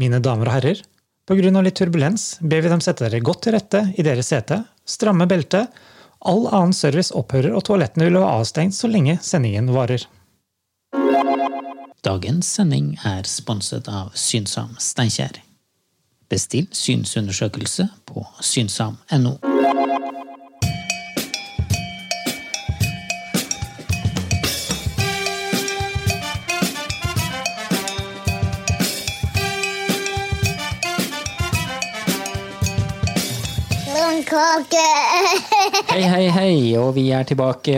Mine damer og herrer, pga. litt turbulens ber vi Dem sette dere godt til rette i deres sete, stramme beltet, all annen service opphører og toalettene vil være avstengt så lenge sendingen varer. Dagens sending er sponset av Synsam Steinkjer. Bestill synsundersøkelse på synsam.no. Blomkake! Hei, hei, hei, og vi er tilbake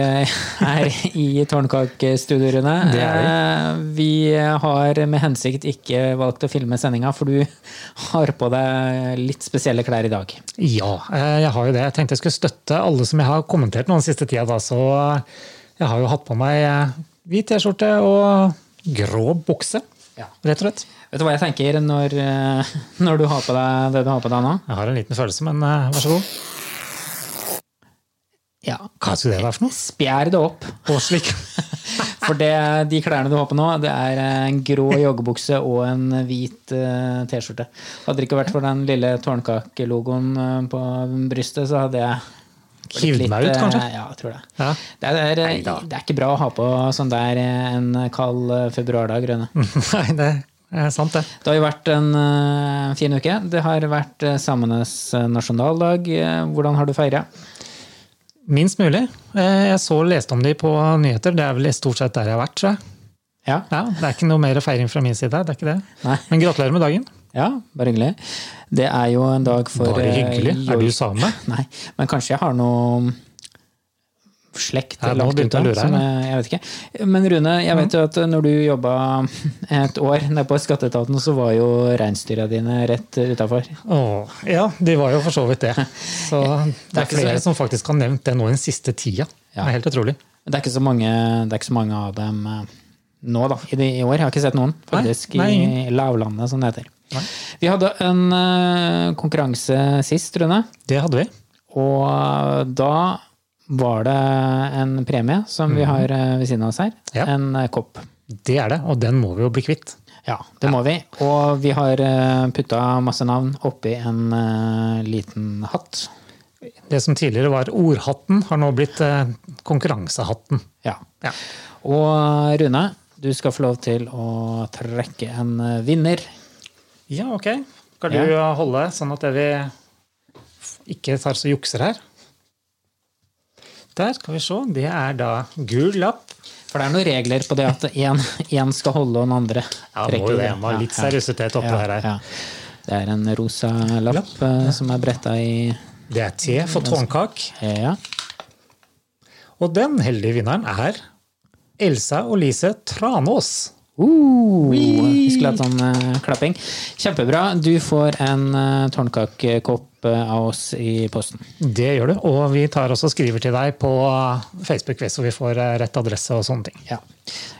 her i Tårnkakestudioene. Det er vi. Eh, Vi har med hensikt ikke valgt å filme sendinga, for du har på deg litt spesielle klær i dag. Ja, eh, jeg har jo det. Jeg tenkte jeg skulle støtte alle som jeg har kommentert nå den siste tida. Da. Så eh, jeg har jo hatt på meg eh, hvit T-skjorte og grå bukse, Ja. rett og slett. Vet du hva jeg tenker når, eh, når du har på deg det du har på deg nå? Jeg har en liten følelse, men eh, vær så god. Ja. Hva skulle det være for noe? Spjær det opp. Og slik. For det, de klærne du har på nå, det er en grå joggebukse og en hvit eh, T-skjorte. Hadde det ikke vært for den lille tårnkakelogoen eh, på brystet, så hadde jeg blitt Hivd meg ut, eh, kanskje? Ja, jeg tror det. Ja. Det, er, det, Neida. er, det er ikke bra å ha på sånn der eh, en kald eh, februardag, Rune. Nei, det er sant, det. Det har jo vært en eh, fin uke. Det har vært eh, samenes eh, nasjonaldag. Eh, Hvordan har du feira? Minst mulig. Eh, Jeg så leste om de på nyheter. Det er vel i stort sett der jeg har vært, tror jeg. Ja. Ja, det er ikke noe mer feiring fra min side. det er ikke det. Nei. Men gratulerer med dagen. ja, bare hyggelig. Det er jo en dag for Bare eh, hyggelig. Er joik- du same? Nei, men kanskje jeg har noe slekt Ja, nå lagt ut begynte jeg å av, lure her, som jeg, jeg vet ikke. Men Rune, jeg vet jo at når du jobba et år nede på skatteetaten, så var jo reinsdyra dine rett utafor. Åh, ja, de var jo for så vidt det. Så det er er ikke så- flere som faktisk har nevnt det nå den siste tida. Det Ja. er helt utrolig. Det er ikke så mange, det er ikke så mange av dem eh, nå, da. I, de, I år. Jeg har ikke sett noen, Nei, faktisk. nei, I lavlandet, som det heter. Nei. Vi hadde en eh, konkurranse sist, Rune. Det hadde vi. Og da var det en premie som vi har eh, ved siden av oss her. Mhm. Ja. En eh, kopp. Det er det, og den må vi jo bli kvitt. Ja, det må vi. Og vi har putta masse navn oppi en eh, liten hatt. Det som tidligere var ordhatten, har nå blitt eh, konkurransehatten. Ja. Ja. Og eh, Rune, du skal få lov til å trekke en eh, vinner. ja, ok. Skal Ja. du holde sånn at vi ikke tar så jukser her? Der skal vi se. Det er da gul lapp. For det er noen regler på det at én skal holde, og den andre Ja, må jo det. Må ha Ja, litt ja. seriøsitet oppi det her. eh. Ja. Det er en rosa lapp eh, som er bretta i E, Det er te for tårnkak. Ja. Og den heldige vinneren er Elsa Olise Tranås. Uh, vi skulle hatt sånn eh, klapping. Kjempebra. Du får en uh, tårnkakekopp eh, av oss i posten. Det gjør du. Og vi tar også og skriver til deg på Facebook hvis vi får eh, rett adresse og sånne ting. Ja,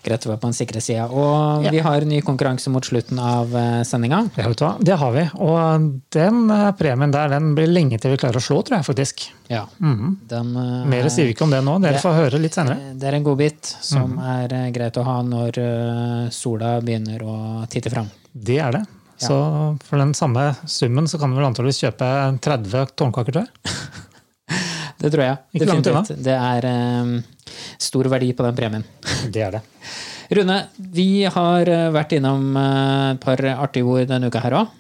Greit å være på den sikre sida. Og Ja. vi har en ny konkurranse mot slutten av eh, sendinga. Ja, vet du hva? Det har vi. Og den eh, premien der den blir lenge til vi klarer å slå, tror jeg faktisk. Ja. Den, eh, Mhm. Mer sier vi ikke om det nå. Dere Det- får høre litt senere. Det er en godbit Mhm. som er eh, greit å ha når eh, sola begynner å titte fram. Det er det. Så for den samme summen så kan du vel antakeligvis kjøpe 30 tårnkaker, tror jeg. Det tror jeg. Ikke langt Definitivt. Det er eh, stor verdi på den premien. Det er det. Rune, vi har eh, vært innom eh, et par artige ord denne uka her òg.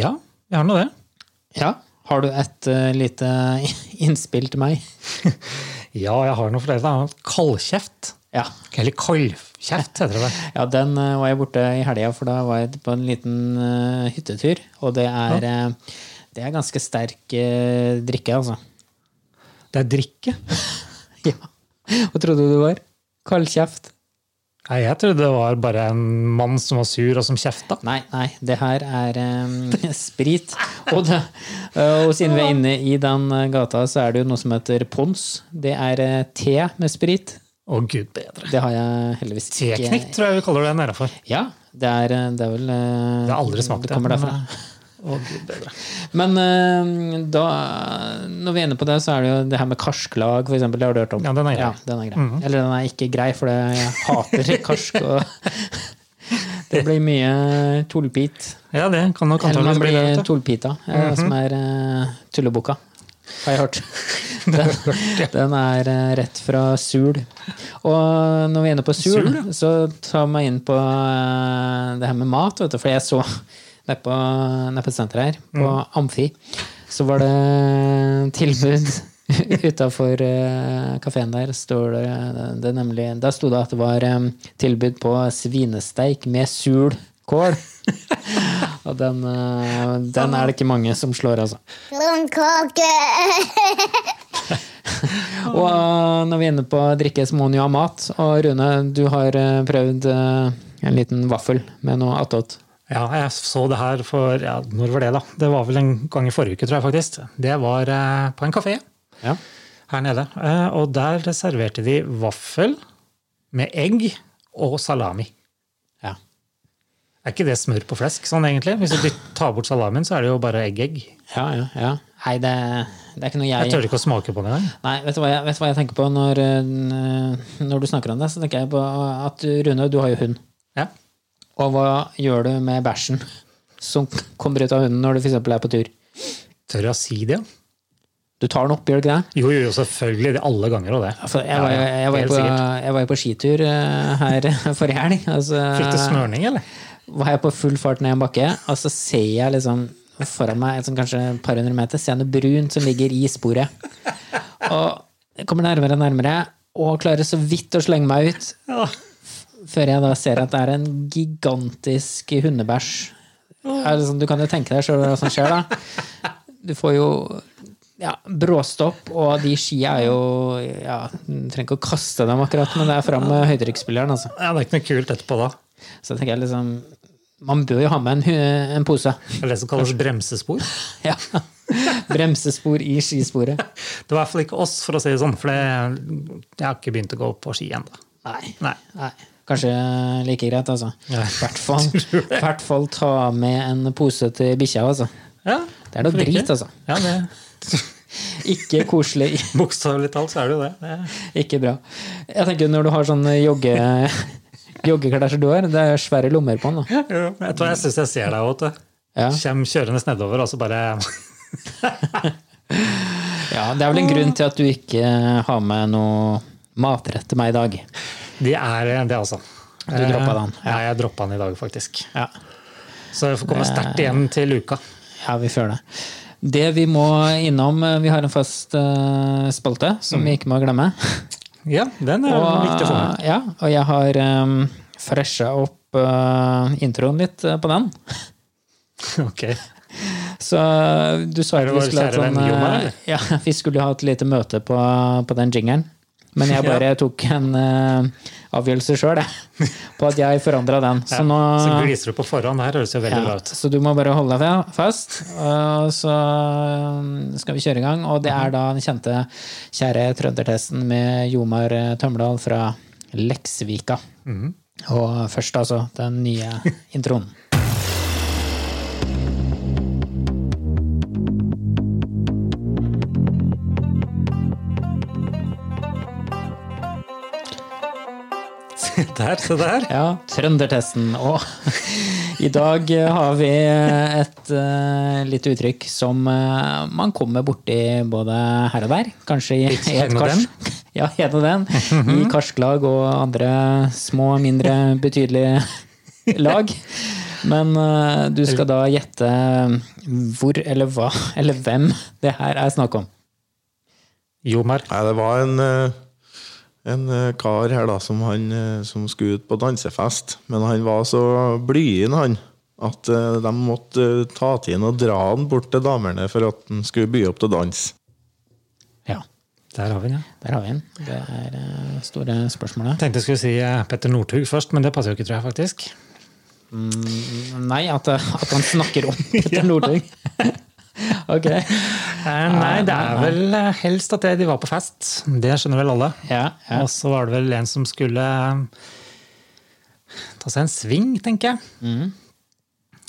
Ja, vi har nå det. Ja. Har du et eh, lite innspill til meg? Ja, jeg har noe for dere. da. Kaldkjeft. Ja. Eller kaldkjeft, heter det vel. Ja, den eh, var jeg borte i helga, for da var jeg på en liten eh, hyttetur. Og det er, eh, det er ganske sterk eh, drikke, altså. Det er drikke. Ja. Hva trodde du det var? Kald kjeft? Nei, jeg trodde det var bare en mann som var sur og som kjefta. Nei, nei, det her er eh, sprit. Og, det, eh, og siden vi er inne i den eh, gata, så er det jo noe som heter pons. Det er eh, te med sprit. Å, gud bedre. Det har jeg heldigvis ikke. Teknikk tror jeg vi kaller det nedafor. Ja, det er, eh, det er vel eh, Det har aldri smakt det. eh, kommer men- derfra. Å, gud bedre. Men eh, da, når vi er inne på det, så er det jo det her med karsklag, for eksempel. Det har du hørt om. Ja, den er grei. Mhm. Ja, den er grei. Eller den er ikke grei, for det- jeg hater karsk. Og Det blir mye tolpit. Ja, det kan nok antakeligvis Eller man bli det. Mhm. blir vet du. tolpita, eh, som er eh, tulleboka. Har jeg hørt. Den, den er eh, rett fra Sul. Og når vi er inne på Sul, Sul, ja. så tar vi inn på eh, det her med mat, vet du. For jeg så nede på, nede på senteret her, på Mm. Amfi, så var det tilbud utafor kafeen der. Står det, det er nemlig, der sto det at det var eh, tilbud på svinesteik med sul kål. Og den, eh, den er det ikke mange som slår, altså. Blomkake! Og eh, når vi er inne på drikke, så må man jo ha mat. Og Rune, du har eh, prøvd eh, en liten vaffel med noe attåt. Ja, jeg så det her for ja, Når var det, da? Det var vel en gang i forrige uke, tror jeg faktisk. Det var eh, på en kafé Ja. her nede. Eh, og der serverte de vaffel med egg og salami. Ja. Er ikke det smør på flesk, sånn egentlig? Hvis du tar bort salamien, så er det jo bare egg-egg. Ja, ja, ja. Nei, det, det er ikke noe jeg Jeg tør ikke å smake på det engang. Nei, vet du, hva jeg, vet du hva jeg tenker på når, eh, når du snakker om det? Så tenker jeg på at Rune, du har jo hund. Ja. Og hva gjør du med bæsjen som kommer ut av hunden når du f.eks. er på tur? Tør jeg å si det? Du tar den opp, gjør du ikke det? Jo, jo, jo, selvfølgelig. det- Alle ganger og det. Ja, For Altså, jeg, var, Ja, jo- ja, jeg, var jo helt på, sikkert. jeg var jo på skitur eh, her forrige helg. Altså, Fikk du smørning, eller? var jeg på full fart ned en bakke, og så ser jeg liksom foran meg et sånn kanskje et par hundre meter, ser jeg noe brunt som ligger i sporet. Og jeg kommer nærmere og nærmere, og klarer så vidt å slenge meg ut, Ja. før jeg da ser at det er en gigantisk hundebæsj. Er det sånn, du kan jo tenke deg sjøl hva som skjer, da. Du får jo ja, bråstopp, og de skia er jo ja, Du trenger ikke å kaste dem akkurat, men det er fram med høytrykksspilleren, altså. ja, det er ikke noe kult etterpå da. Så tenker jeg liksom Man bør jo ha med en, hu- en pose. Det er det som kalles bremsespor. Ja. Bremsespor i skisporet. Det var i hvert fall ikke oss, for å si det sånn, for det, jeg har ikke begynt å gå på ski ennå. Nei. Nei. Nei. Kanskje like greit, altså. Ja. Hvert fall, hvert fall ta med en pose til bikkja, altså. Ja, Det er noe hvorfor ikke? drit, altså. Ja, det, Ikke koselig, Bokstavelig talt så er det jo det. det. ikke bra. Jeg tenker når du har sånne jogge, joggeklær som du har, det er svære lommer på den, da. Vet du hva, jeg syns jeg ser deg òg, vet du. Ja. Kjem kjørende nedover, og så bare ja, det er vel en grunn til at du ikke eh, har med noe matrett til meg i dag. De er det, altså. Du droppa den, Ja, jeg droppa den i dag, faktisk. Ja. Så jeg får komme sterkt igjen til uka. Ja, vi føler det. Det vi må innom eh, Vi har en fast eh, spalte som vi ikke må glemme. Mm. Ja, den er viktig for meg. ja, og jeg har um, fresha opp eh, introen litt eh, på den. Ok. Så eh, du sa Er at det vi vår skulle ha kjære et sånn venn Jon her, eh, eller? Ja, vi skulle ha et lite møte på, på den jingeren. Men jeg bare tok en eh, avgjørelse sjøl, jeg. På at jeg forandra den. Så Ja, nå så gliser du på forhånd. Det her høres jo veldig bra Ja, ut. så du må bare holde deg fa- fast, og så um, skal vi kjøre i gang. Og det er da den kjente, kjære trøndertesten med Jomar eh, Tømdal fra Leksvika. Og først altså den nye introen. Se der, se der. Ja, trøndertesten. Og i dag eh, har vi et eh, lite uttrykk som eh, man kommer borti både her og der. Kanskje i i et hen og Mhm. kars. Ja, en og den. I karsklag og andre små, mindre betydelige lag. Men eh, du skal da gjette hvor eller hva eller hvem det her er snakk om. Jomar. Nei, det var en, eh, en eh, kar her da, som, han, eh, som skulle ut på dansefest. Men han var så blyen, han, at eh, de måtte eh, ta til han og dra han bort til damene for at han skulle by opp til dans. Ja, Der har vi den, ja. der har vi den. Det er eh, store spørsmålet. Tenkte jeg skulle si eh, Petter Northug først, men det passer jo ikke, tror jeg, faktisk. Nei, at, at han snakker om Petter Northug. ok. Eh, Nei, det er vel eh, helst at det- de var på fest. Det skjønner vel alle. Ja, ja. Og så var det vel en som skulle eh, ta seg en sving, tenker jeg. Mhm.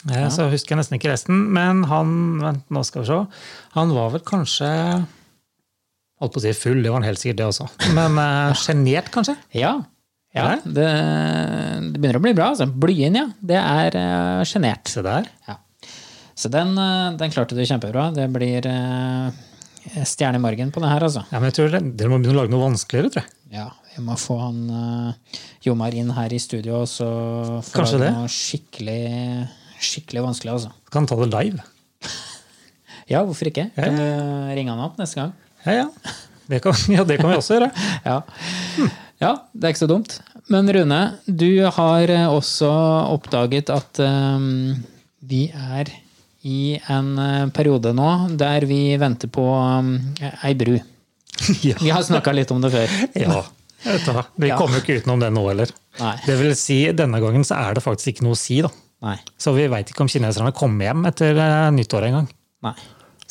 Eh, Så husker jeg nesten ikke resten. Men han vent, nå skal vi se. Han var vel kanskje Holdt på å si full, det var han helt sikkert, det også. Men eh, sjenert, kanskje? ja. Ja, Eller? det, det begynner å bli bra. Altså. Blyen, ja. Det er eh, sjenert. Se der. Ja. Så den, eh, den klarte du kjempebra. Det blir eh, stjerne i margen på det her, altså. Ja, men jeg tror det, Dere må begynne å lage noe vanskeligere, tror jeg. Ja, vi må få han eh, Jomar inn her i studio, og så får Kanskje han det. noe skikkelig, skikkelig vanskelig, altså. Kan ta det live. Ja, hvorfor ikke? Ja, Kan du ringe han opp neste gang? Ja, ja. Det kan, ja, det kan vi også gjøre. Ja. ja, det er ikke så dumt. Men Rune, du har eh, også oppdaget at eh, vi er i en eh, periode nå der vi venter på eh, ei bru. Ja. Vi har snakka litt om det før. ja. Vet du hva, Vi Ja. kommer jo ikke utenom det nå heller. Nei. Det vil si, denne gangen så er det faktisk ikke noe å si, da. Nei. Så vi veit ikke om kineserne kommer hjem etter eh, nyttår engang. Nei.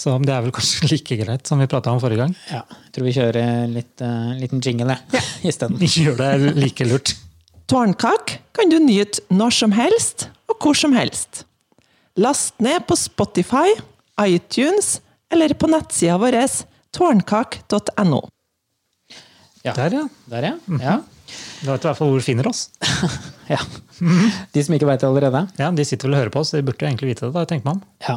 Så det er vel kanskje like greit som vi prata om forrige gang. Ja, jeg tror vi kjører litt eh, liten jingle ja. isteden. Vi gjør det like lurt. Tårnkak kan du nyte når som helst og hvor som helst. Last ned på Spotify, iTunes eller på nettsida vår tårnkak.no. Ja. Der, ja. Der, ja. ja. Da vet du i hvert fall hvor du finner oss. ja. De som ikke veit det allerede. Ja, De sitter vel og hører på oss, de burde jo egentlig vite det, da, tenker man. Ja.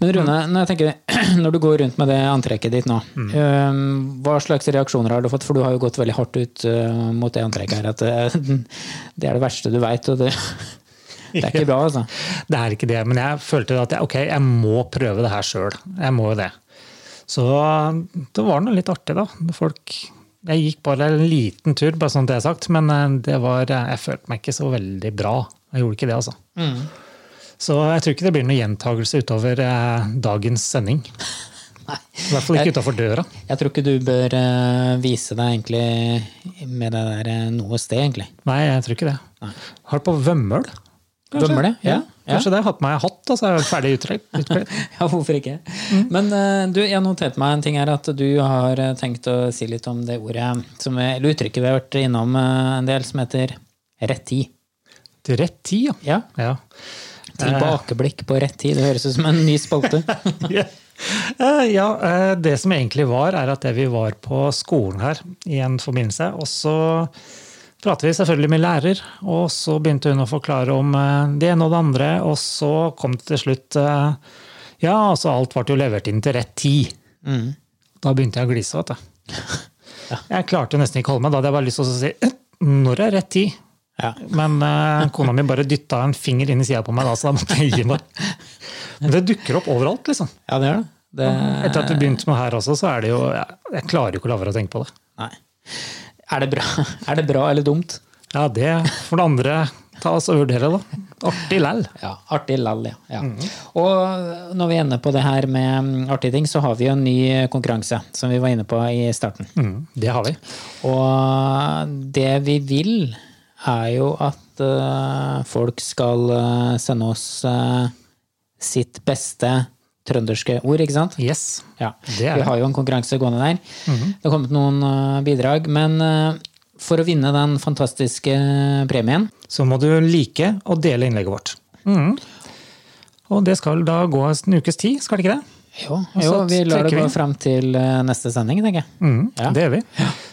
Men Rune, når, jeg tenker, når du går rundt med det antrekket ditt nå, øhm, hva slags reaksjoner har du fått? For du har jo gått veldig hardt ut øh, mot det antrekket her. At øh, det er det verste du veit, og det, det er ikke bra, altså. Det er ikke det, men jeg følte at jeg, ok, jeg må prøve det her sjøl. Jeg må jo det. Så det var noe litt artig, da. Folk, jeg gikk bare en liten tur, bare sånn at det er sagt, men eh, det var, jeg følte meg ikke så veldig bra. Jeg gjorde ikke det, altså. Mm. Så jeg tror ikke det blir noen gjentagelse utover eh, dagens sending. I hvert fall ikke utafor døra. Jeg tror ikke du bør øh, vise deg egentlig med det der øh, noe sted, egentlig. Nei, jeg tror ikke det. Har du på vømmøl? kanskje? Vømmøl, ja. Ja. Kanskje det. Jeg har hatt på meg hatt, da, så er jeg ferdig utkledd. utkledd. Ja, hvorfor ikke? Men eh, du, jeg noterte meg en ting her, at du har eh, tenkt å si litt om det ordet, eh, som, er- eller uttrykket vi har vært innom eh, en del, som heter rett tid. Til rett tid, ja. Ja, ja. tilbakeblikk på rett tid. Det høres ut som en ny spalte. Ja. Eh, ja, eh, det som egentlig var, er at det vi var på skolen her i en forbindelse, og så pratet vi selvfølgelig med lærer, og så begynte hun å forklare om eh, det ene og det andre, og så kom det til slutt eh, Ja, altså alt ble jo levert inn til rett tid. Da begynte jeg å glise, vet du. Jeg klarte jo nesten ikke å holde meg, da hadde jeg bare lyst til å si «Eh, når er rett tid? Ja. Men eh, kona mi bare dytta en finger inn i sida på meg, da, så da måtte jeg gi meg. Men det dukker opp overalt, liksom. Ja, det gjør det. det. Etter at du begynte med her også, så er det jo ja, Jeg klarer jo ikke å la være å tenke på det. Nei. Er det bra, er det bra eller dumt? Ja, det får det andre ta oss og vurdere, da. Artig læll. Ja, Mhm. artig lall, ja. ja. Og når vi er inne på det her med mm, artige ting, så har vi jo en ny konkurranse, som vi var inne på i starten. Mm, det har vi. Og det vi vil, er jo at eh, folk skal eh, sende oss eh, sitt beste trønderske ord, ikke sant? Yes. Ja, Det er Vi det. Mhm. har jo en konkurranse gående der. Det har kommet noen eh, bidrag. Men eh, for å vinne den fantastiske eh, premien Så må du like og dele innlegget vårt. Mm. Og det skal da gå en ukes tid, skal det ikke det? Jo, Og så jo vi lar altså, det trekker gå vi. fram til eh, neste sending, tenker jeg. Mm, Ja. Det gjør vi.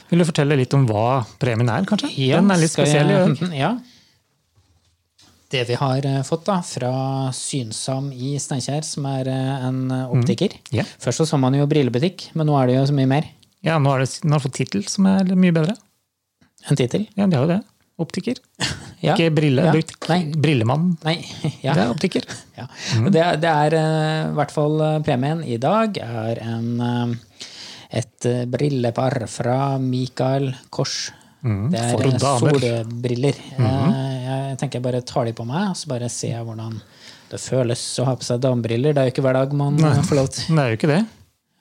Vil du fortelle litt om hva premien er, kanskje? Ja, Den er litt skal spesiell. i år. Jeg, ja. Det vi har eh, fått da, fra Synsam i Steinkjer, som er eh, en Mhm. eh, optiker. Ja. Først så så man jo brillebutikk, men nå er det jo så mye mer. Ja, nå, er det, nå har du fått tittel, som er mye bedre. En tittel. Ja, de har jo det. Optiker. Ja. Ikke brille, Ja. butikk. Nei. Brillemann. Nei. Ja. Det er optiker. Ja. Og Det, det er eh, i hvert fall eh, premien i dag er en, eh, et eh, brillepar fra Mikael Kors. det Mm. er for eh, damer. Mm-hmm. solbriller. Eh, Jeg tenker jeg bare tar de på meg, og så bare ser jeg hvordan det føles å ha på seg damebriller. Det er jo ikke hver dag man eh, får lov til. Men det er jo ikke det.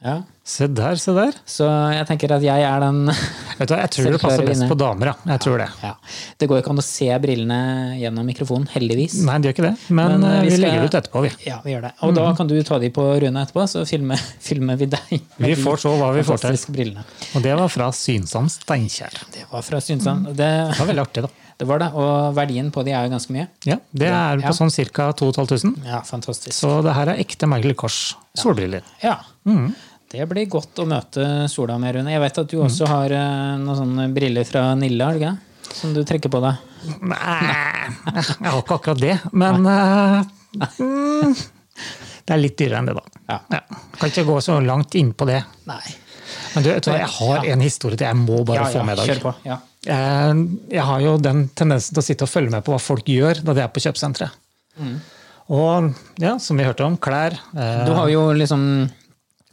Ja. Se der, se der. Så jeg tenker at jeg er den Vet du, hva, jeg tror Selv det passer klarer å best vinne. på damer, ja. Jeg tror det. ja. Det går jo ikke an å se brillene gjennom mikrofonen, heldigvis. Nei, det gjør ikke det, men, Men, eh, eh, vi vi skal- legger det ut etterpå, vi. Ja, vi gjør det. Og Mm. da kan du ta de på Rune etterpå, så filmer, filmer vi deg. med Vi de får se hva vi får til. fantastiske Brillene. Og det var fra Synsam Steinkjer. Det var fra Synsand. Det, Det var veldig artig, da. det var det. Og verdien på de er jo ganske mye. Ja, Det er Ja. på sånn ca. 2500. Ja, fantastisk. Så det her er ekte Michael Kors solbriller. Ja. Mm. Det blir godt å møte sola med, Rune. Jeg vet at du også har eh, noen sånne briller fra Nille, har du ikke? det? som du trekker på deg? Nei, jeg har ikke akkurat det. Men eh, mm, det er litt dyrere enn det, da. Ja. Kan ikke gå så langt inn på det. Nei. Men du, vet du, hva, jeg har en historie til jeg må bare Ja, få ja, med i kjør dag. på. Ja. Eh, Jeg har jo den tendensen til å sitte og følge med på hva folk gjør når de er på kjøpesenteret. Mm. Og ja, som vi hørte om, klær. eh, Du har jo liksom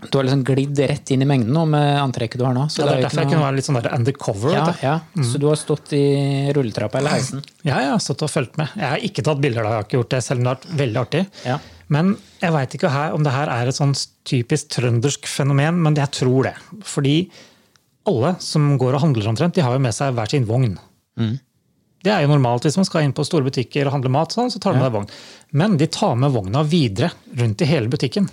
du har liksom glidd rett inn i mengden nå med antrekket du har nå. Så ja, det er jo derfor jeg Mm. ikke kunne noe- være litt sånn der undercover. ja, vet du. ja. Så du har stått i rulletrappa eller heisen? Ja, jeg har stått og fulgt med. Jeg har ikke tatt bilder, da. jeg har ikke gjort det, selv om det har vært veldig artig. Ja. Men jeg veit ikke her, om det her er et sånn typisk trøndersk fenomen, men jeg tror det. Fordi alle som går og handler omtrent, de har jo med seg hver sin vogn. Det er jo normalt hvis man skal inn på store butikker og handle mat, sånn, så tar de med vogn. Men de tar med vogna videre rundt i hele butikken.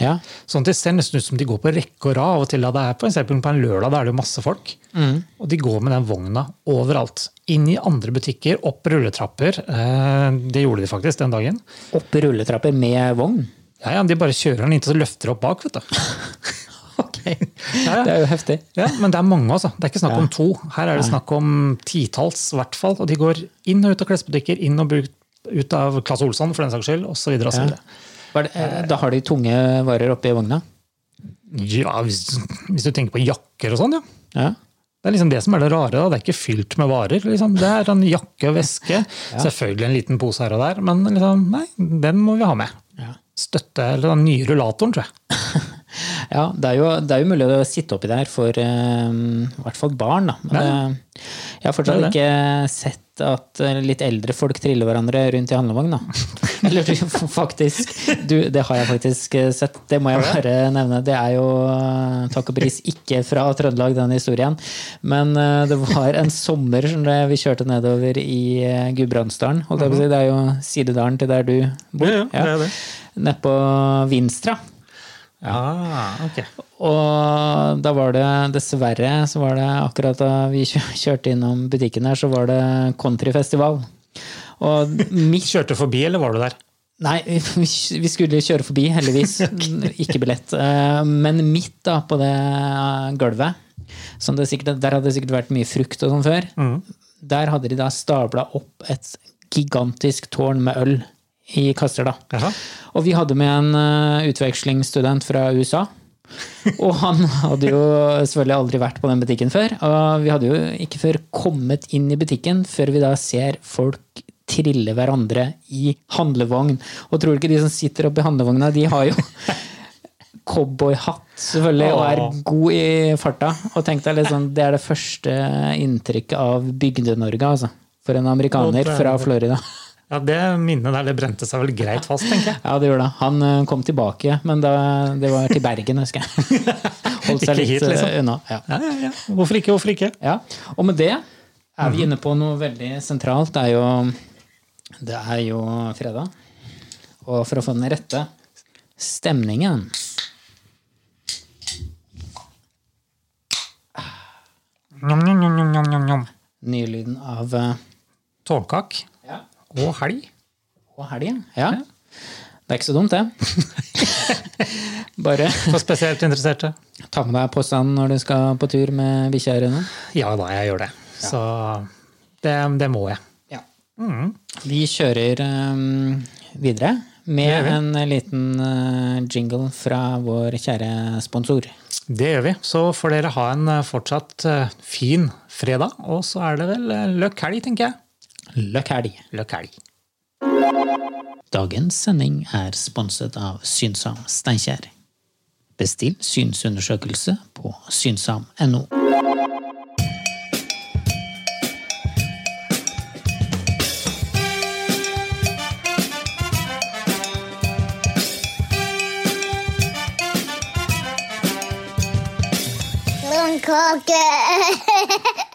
Ja. Sånn at Det ser nesten ut som de går på rekke og rad. av og til da det er på, for eksempel på en lørdag da er det jo masse folk. Mm. Og de går med den vogna overalt. Inn i andre butikker, opp rulletrapper. Eh, Det gjorde de faktisk den dagen. Opp i rulletrapper med vogn? Ja, ja, De bare kjører den inntil så løfter de opp bak. vet du. Ok, Ja, ja. Det er jo heftig. Ja, Men det er mange, altså. Det er ikke snakk om to. Her er det snakk om titalls, i hvert fall. Og de går inn og ut av klesbutikker, inn og ut- ut av Claes Olsson for den saks skyld, osv. Ja. videre. Var det, eh, da har de tunge varer oppi vogna? Ja, hvis, hvis du tenker på jakker og sånn, ja. Ja. Det er liksom det som er det rare. Da. Det er ikke fylt med varer. Liksom. Det er en jakke og veske. Selvfølgelig en liten pose her og der, men liksom, nei, den må vi ha med. Ja. Støtte eller den nye rullatoren, tror jeg. ja det, er jo, det er jo mulig å sitte oppi der for eh, i hvert fall barn, da. Men eh, jeg har fortsatt Det er det. ikke sett at eh, litt eldre folk triller hverandre rundt i handlevogn, da. Eller du, faktisk du, Det har jeg faktisk eh, sett. Det må jeg bare nevne. Det er jo eh, takk og pris ikke fra Trøndelag, den historien. Men eh, det var en sommer som det, vi kjørte nedover i eh, Gudbrandsdalen. holdt jeg på å si. Det er jo sidedalen til der du bor. Mhm. Ja, ja, det er det. Nedpå Vinstra. Ah, ok. Og da var det dessverre, så var det akkurat da vi kjø- kjørte innom butikken her, så var det countryfestival. Og midt Kjørte du forbi, eller var du der? Nei, vi vi skulle kjøre forbi, heldigvis. Ikke billett. Eh, Men midt da på det eh, gulvet, som det sikkert, der hadde det sikkert vært mye frukt og sånn før, der hadde de da stabla opp et gigantisk tårn med øl i kasser, da. Jaha. Og vi hadde med en eh, utvekslingsstudent fra USA. og han hadde jo selvfølgelig aldri vært på den butikken før. Og vi hadde jo ikke før kommet inn i butikken før vi da ser folk trille hverandre i handlevogn. Og tror du ikke de som sitter oppi handlevogna, de har jo cowboyhatt selvfølgelig, og er god i farta. Og tenk deg litt sånn, Det er det første inntrykket av Bygde-Norge, altså. For en amerikaner fra Florida. Ja, Det minnet der det brente seg vel greit fast, tenker jeg. Ja, det gjorde det. Han eh, kom tilbake, men da, det var til Bergen, husker jeg. Holdt Ikke seg litt hit, liksom. eh, unna. Ja. Ja, ja, ja. Hvorfor ikke, hvorfor ikke? Ja, og med det er Mm. vi inne på noe veldig sentralt. Det er jo, det er jo fredag. Og for å få den rette stemningen Njam, njam, njam, njam, njam, njam. Nylyden av eh, Tårnkak ja, og helg. og helg. Ja. Det er ikke så dumt, det. Bare For spesielt interesserte. ta med deg påstanden når du skal på tur med bikkja her inne. Ja da, jeg gjør det. Så det, det må jeg. Ja. Vi kjører eh, videre Det gjør med vi. en liten eh, jingle fra vår kjære sponsor. Det gjør vi. Så får dere ha en eh, fortsatt eh, fin fredag. Og så er det vel eh, løkk helg, tenker jeg. Løkk helg! Løkk helg. Dagens sending er sponset av Synsam Steinkjer. Bestill synsundersøkelse på synsam.no. Lone Cocker.